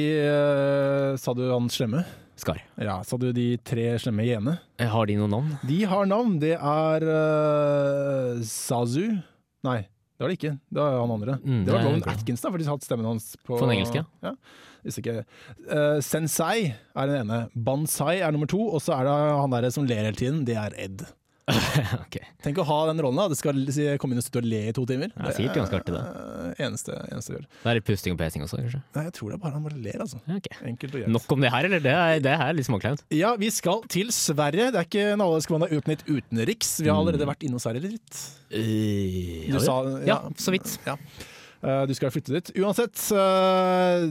[SPEAKER 2] eh, Sa du han slemme?
[SPEAKER 3] Skar.
[SPEAKER 2] Ja, sa du de tre slemme hyene?
[SPEAKER 3] Eh, Har de noe navn?
[SPEAKER 2] De har navn. Det er eh, Sazu Nei, det var det ikke. Det var han andre.
[SPEAKER 3] Mm,
[SPEAKER 2] det var
[SPEAKER 3] nei,
[SPEAKER 2] Rowan
[SPEAKER 3] det er bra.
[SPEAKER 2] Atkins, da, for de har hatt stemmen hans på
[SPEAKER 3] På den engelske,
[SPEAKER 2] ja. Hvis ikke Eh, Sensei er den ene. Bansai er nummer to. Og så er det han derre som ler hele tiden. Det er Ed.
[SPEAKER 3] Ok.
[SPEAKER 2] Tenk å ha den rollen. da Det skal si- komme inn og sitte og le i to timer.
[SPEAKER 3] Ja, sikkert ganske artig,
[SPEAKER 2] det. er, eh, Eneste, eneste jeg gjør.
[SPEAKER 3] Det er litt pusting og pesing også, kanskje?
[SPEAKER 2] Nei, jeg tror det er bare han bare ler, altså.
[SPEAKER 3] Ja, ok.
[SPEAKER 2] Enkelt og greit.
[SPEAKER 3] Nok om det her, eller? Det er, det her er litt småkleint.
[SPEAKER 2] Ja, vi skal til Sverige. Det er ikke en Allelskmandag uten litt utenriks. Vi har allerede vært innom Sverige litt.
[SPEAKER 3] Uh,
[SPEAKER 2] Du sa
[SPEAKER 3] Mm. ja, så vidt.
[SPEAKER 2] Ja. Eh, Du skal flytte dit. Uansett, eh,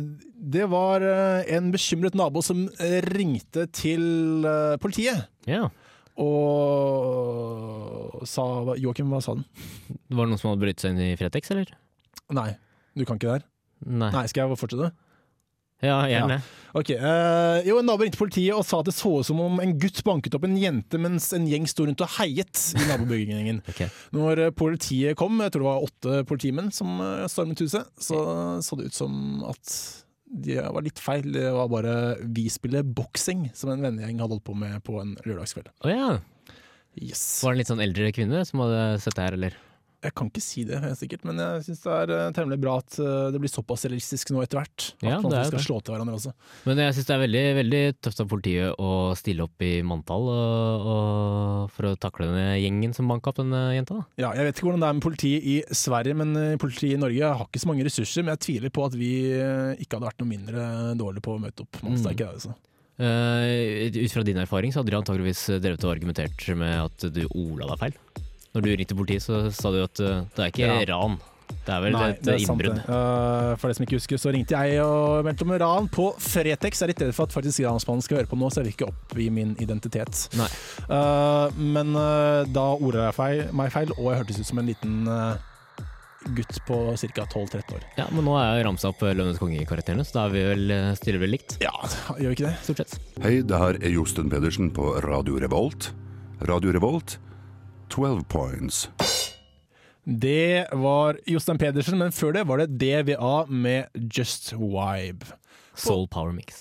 [SPEAKER 2] det var eh, en bekymret nabo som eh, ringte til eh, politiet
[SPEAKER 3] Ja.
[SPEAKER 2] og sa hva- Joakim, hva sa den?
[SPEAKER 3] Var det noen som hadde brytt seg inn i Fretex, eller?
[SPEAKER 2] Nei, du kan ikke det her.
[SPEAKER 3] Nei.
[SPEAKER 2] Nei, skal jeg fortsette?
[SPEAKER 3] Ja, gjerne.
[SPEAKER 2] Ok, eh, jo, En nabo ringte politiet og sa at det så ut som om en gutt banket opp en jente mens en gjeng sto rundt og heiet i nabobygningen.
[SPEAKER 3] Ok.
[SPEAKER 2] Når eh, politiet kom, jeg tror det var åtte politimenn som eh, stormet huset, så så det ut som at de var litt feil. Det var bare vi spiller boksing, som en vennegjeng hadde holdt på med på en lørdagskveld.
[SPEAKER 3] Å ja.
[SPEAKER 2] Yes.
[SPEAKER 3] Var det en litt sånn eldre kvinne som hadde sett det her, eller?
[SPEAKER 2] Jeg kan ikke si det helt sikkert, men jeg syns det er eh, temmelig bra at eh, det blir såpass realistisk nå etter hvert. At
[SPEAKER 3] Ja,
[SPEAKER 2] man
[SPEAKER 3] det er
[SPEAKER 2] skal
[SPEAKER 3] det.
[SPEAKER 2] slå til hverandre også.
[SPEAKER 3] Men jeg syns det er veldig, veldig tøft av politiet å stille opp i manntall og, og for å takle denne gjengen som banka opp denne jenta. da.
[SPEAKER 2] Ja, jeg vet ikke hvordan det er med politiet i Sverige, men eh, politiet i Norge har ikke så mange ressurser. Men jeg tviler på at vi eh, ikke hadde vært noe mindre dårlige på å møte opp
[SPEAKER 3] Mm.
[SPEAKER 2] mannsterke. Altså.
[SPEAKER 3] Eh, ut fra din erfaring så hadde de antageligvis drevet og argumentert med at du ola deg feil. Når du ringte politiet, så sa du at eh, det er ikke ran, det er vel et
[SPEAKER 2] er sant,
[SPEAKER 3] innbrudd.
[SPEAKER 2] det. Eh, for det som ikke husker, så ringte jeg og meldte om ran på Fretex. Jeg er litt redd for at faktisk ransmannen skal høre på nå, så jeg vil ikke oppgi min identitet.
[SPEAKER 3] Nei.
[SPEAKER 2] Eh, men eh, da orda jeg feil, meg feil, og jeg hørtes ut som en liten eh, gutt på ca. 12-13 år.
[SPEAKER 3] Ja, men nå er jeg ramsa opp eh, Lønnes konge-karakterene, så da er vi vel eh, stiller vel likt,
[SPEAKER 2] Ja, gjør vi ikke det?
[SPEAKER 3] stort sett.
[SPEAKER 6] Hei, det her er Josten Pedersen på Radio Revolt. Radio Revolt, 12 points.
[SPEAKER 2] Det var Jostein Pedersen, men før det var det DVA med Just Vibe.
[SPEAKER 3] Soul Power Mix.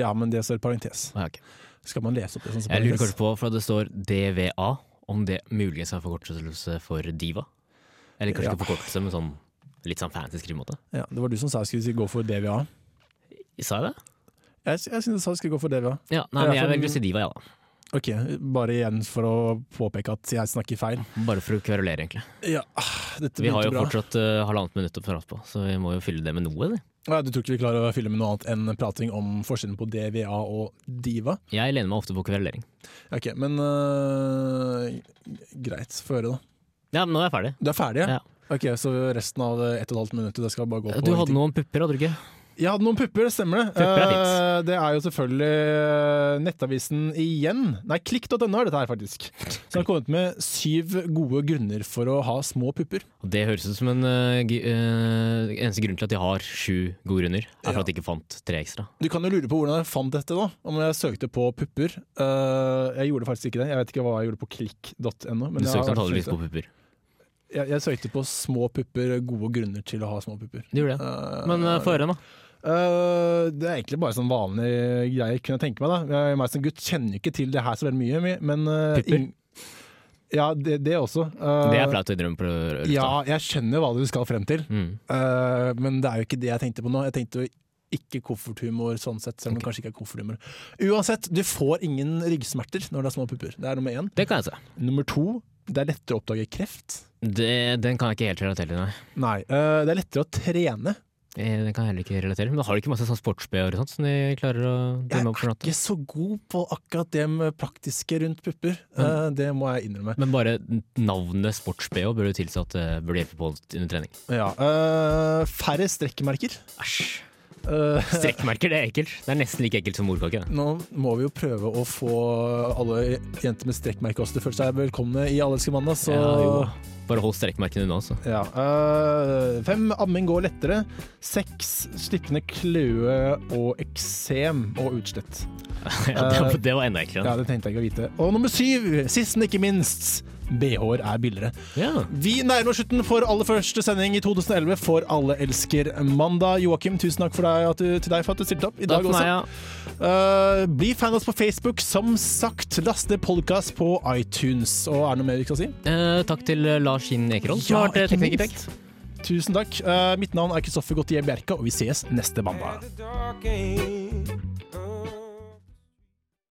[SPEAKER 2] Ja, men det står i parentes.
[SPEAKER 3] Ah, ja, ok.
[SPEAKER 2] Skal man lese opp det sånn? som
[SPEAKER 3] Jeg lurer
[SPEAKER 2] parentes?
[SPEAKER 3] kanskje på, for det står DVA, om det muligens er forkortelse for diva? Eller kanskje
[SPEAKER 2] Ja.
[SPEAKER 3] ikke forkortelse, men sånn litt sånn fancy skrivemåte?
[SPEAKER 2] Ja, det var du som sa jeg skulle gå for DVA.
[SPEAKER 3] Sa jeg det?
[SPEAKER 2] Jeg, sy- jeg synes jeg sa jeg skulle gå for DVA.
[SPEAKER 3] Ja, nei,
[SPEAKER 2] Ja,
[SPEAKER 3] men jeg
[SPEAKER 2] for-
[SPEAKER 3] velger å si diva, ja da.
[SPEAKER 2] Ok, bare igjen for å påpeke at jeg snakker feil.
[SPEAKER 3] Bare for å kverulere, egentlig.
[SPEAKER 2] Ja, ah, dette
[SPEAKER 3] Vi har
[SPEAKER 2] begynte
[SPEAKER 3] jo
[SPEAKER 2] bra.
[SPEAKER 3] fortsatt eh, halvannet minutt å prate på, så vi må jo fylle det med noe. Det.
[SPEAKER 2] Ja, du tror ikke vi klarer å fylle med noe annet enn prating om forskjellen på DVA og Diva?
[SPEAKER 3] Jeg lener meg ofte på kverulering.
[SPEAKER 2] Ok, men øh, greit. Få høre, da.
[SPEAKER 3] Ja, men nå er jeg ferdig.
[SPEAKER 2] Du er ferdig, ja?
[SPEAKER 3] Ja.
[SPEAKER 2] Ok, Så resten av det ett og et halvt minuttet det skal bare gå på
[SPEAKER 3] Du hadde
[SPEAKER 2] ingenting.
[SPEAKER 3] noe om pupper, hadde du ikke?
[SPEAKER 2] Jeg hadde noen pupper, stemmer det.
[SPEAKER 3] Pupper er
[SPEAKER 2] Eh, det er jo selvfølgelig eh, nettavisen igjen. Nei, klikk.no er dette her, faktisk. Som har kommet med syv gode grunner for å ha små pupper.
[SPEAKER 3] Og Det høres ut som en eh, gi- eh, eneste grunn til at de har sju gode runder, er for
[SPEAKER 2] Ja.
[SPEAKER 3] at de ikke fant tre ekstra.
[SPEAKER 2] Du kan jo lure på hvordan jeg fant dette, da. Om jeg søkte på pupper. Eh, jeg gjorde faktisk ikke det. Jeg vet ikke hva jeg gjorde på klikk.no. men
[SPEAKER 3] Du
[SPEAKER 2] jeg har
[SPEAKER 3] søkte antakeligvis
[SPEAKER 2] søkt det.
[SPEAKER 3] på pupper.
[SPEAKER 2] jeg, jeg søkte på små pupper, gode grunner til å ha små pupper.
[SPEAKER 3] Du gjorde det.
[SPEAKER 2] Eh,
[SPEAKER 3] Men eh, få høre, da.
[SPEAKER 2] Eh, det er egentlig bare sånn vanlige greier, kunne jeg tenke meg. da Jeg meg som gutt kjenner jo ikke til det her så veldig mye, men- men eh,
[SPEAKER 3] Pipper?
[SPEAKER 2] ing- Ja, det, det også. Eh,
[SPEAKER 3] Det er flaut å innrømme på lufta.
[SPEAKER 2] Ja, jeg skjønner hva du skal frem til,
[SPEAKER 3] Mm.
[SPEAKER 2] Eh, men det er jo ikke det jeg tenkte på nå. Jeg tenkte jo ikke kofferthumor sånn sett, selv om det kanskje ikke er kofferthumor. Uansett, du får ingen ryggsmerter når det er små pupper. Det er nummer én.
[SPEAKER 3] Det kan jeg se.
[SPEAKER 2] Nummer to, det er lettere å oppdage kreft.
[SPEAKER 3] Det, den kan jeg ikke helt relatere til, nei.
[SPEAKER 2] Nei, eh, det er lettere å trene.
[SPEAKER 3] Eh, Den kan jeg heller ikke relatere til. Men har de ikke masse sånn sports-BH-er og sånt som de klarer å
[SPEAKER 2] Jeg
[SPEAKER 3] demme
[SPEAKER 2] er
[SPEAKER 3] opp for natta?
[SPEAKER 2] ikke så god på akkurat det med praktiske rundt pupper. Eh, det må jeg innrømme.
[SPEAKER 3] Men bare navnet sports-BH bør du tilsi at det burde hjelpe på under trening.
[SPEAKER 2] Ja, eh, færre strekkmerker.
[SPEAKER 3] Æsj.
[SPEAKER 2] Eh,
[SPEAKER 3] Strekkmerker, det er ekkelt. Det er nesten like ekkelt som morkake. det.
[SPEAKER 2] nå må vi jo prøve å få alle jenter med strekkmerke også til å føle seg velkomne i Alle elsker mandag, så
[SPEAKER 3] Ja, jo. Bare hold strekkmerkene unna, altså.
[SPEAKER 2] Ja, eh, fem, amming går lettere. Seks, slippende kløe og eksem og utslett. Eh,
[SPEAKER 3] Ja, det, var- det var enda
[SPEAKER 2] Ja,
[SPEAKER 3] eklere.
[SPEAKER 2] det tenkte jeg ikke å vite. Og nummer syv, sist, men ikke minst, BH-er er billigere.
[SPEAKER 3] Ja.
[SPEAKER 2] Vi nærmer oss slutten for aller første sending i 2011 for Alle elsker mandag. Joakim, tusen takk for deg, at du, til deg for at du stilte opp i dag
[SPEAKER 3] Takk for meg,
[SPEAKER 2] også.
[SPEAKER 3] ja.
[SPEAKER 2] Eh, bli fan av oss på Facebook, som sagt. Last ned podkast på iTunes. Og er det noe mer vi skal si?
[SPEAKER 3] Eh, takk til Lars Kinn Ekerhold, som
[SPEAKER 2] Ja,
[SPEAKER 3] har vært
[SPEAKER 2] ikke
[SPEAKER 3] tekniker.
[SPEAKER 2] minst. Tusen takk. Eh, mitt navn er Kristoffer Gautier Bjerka, og vi ses neste
[SPEAKER 7] At
[SPEAKER 2] mandag.
[SPEAKER 7] the dark end,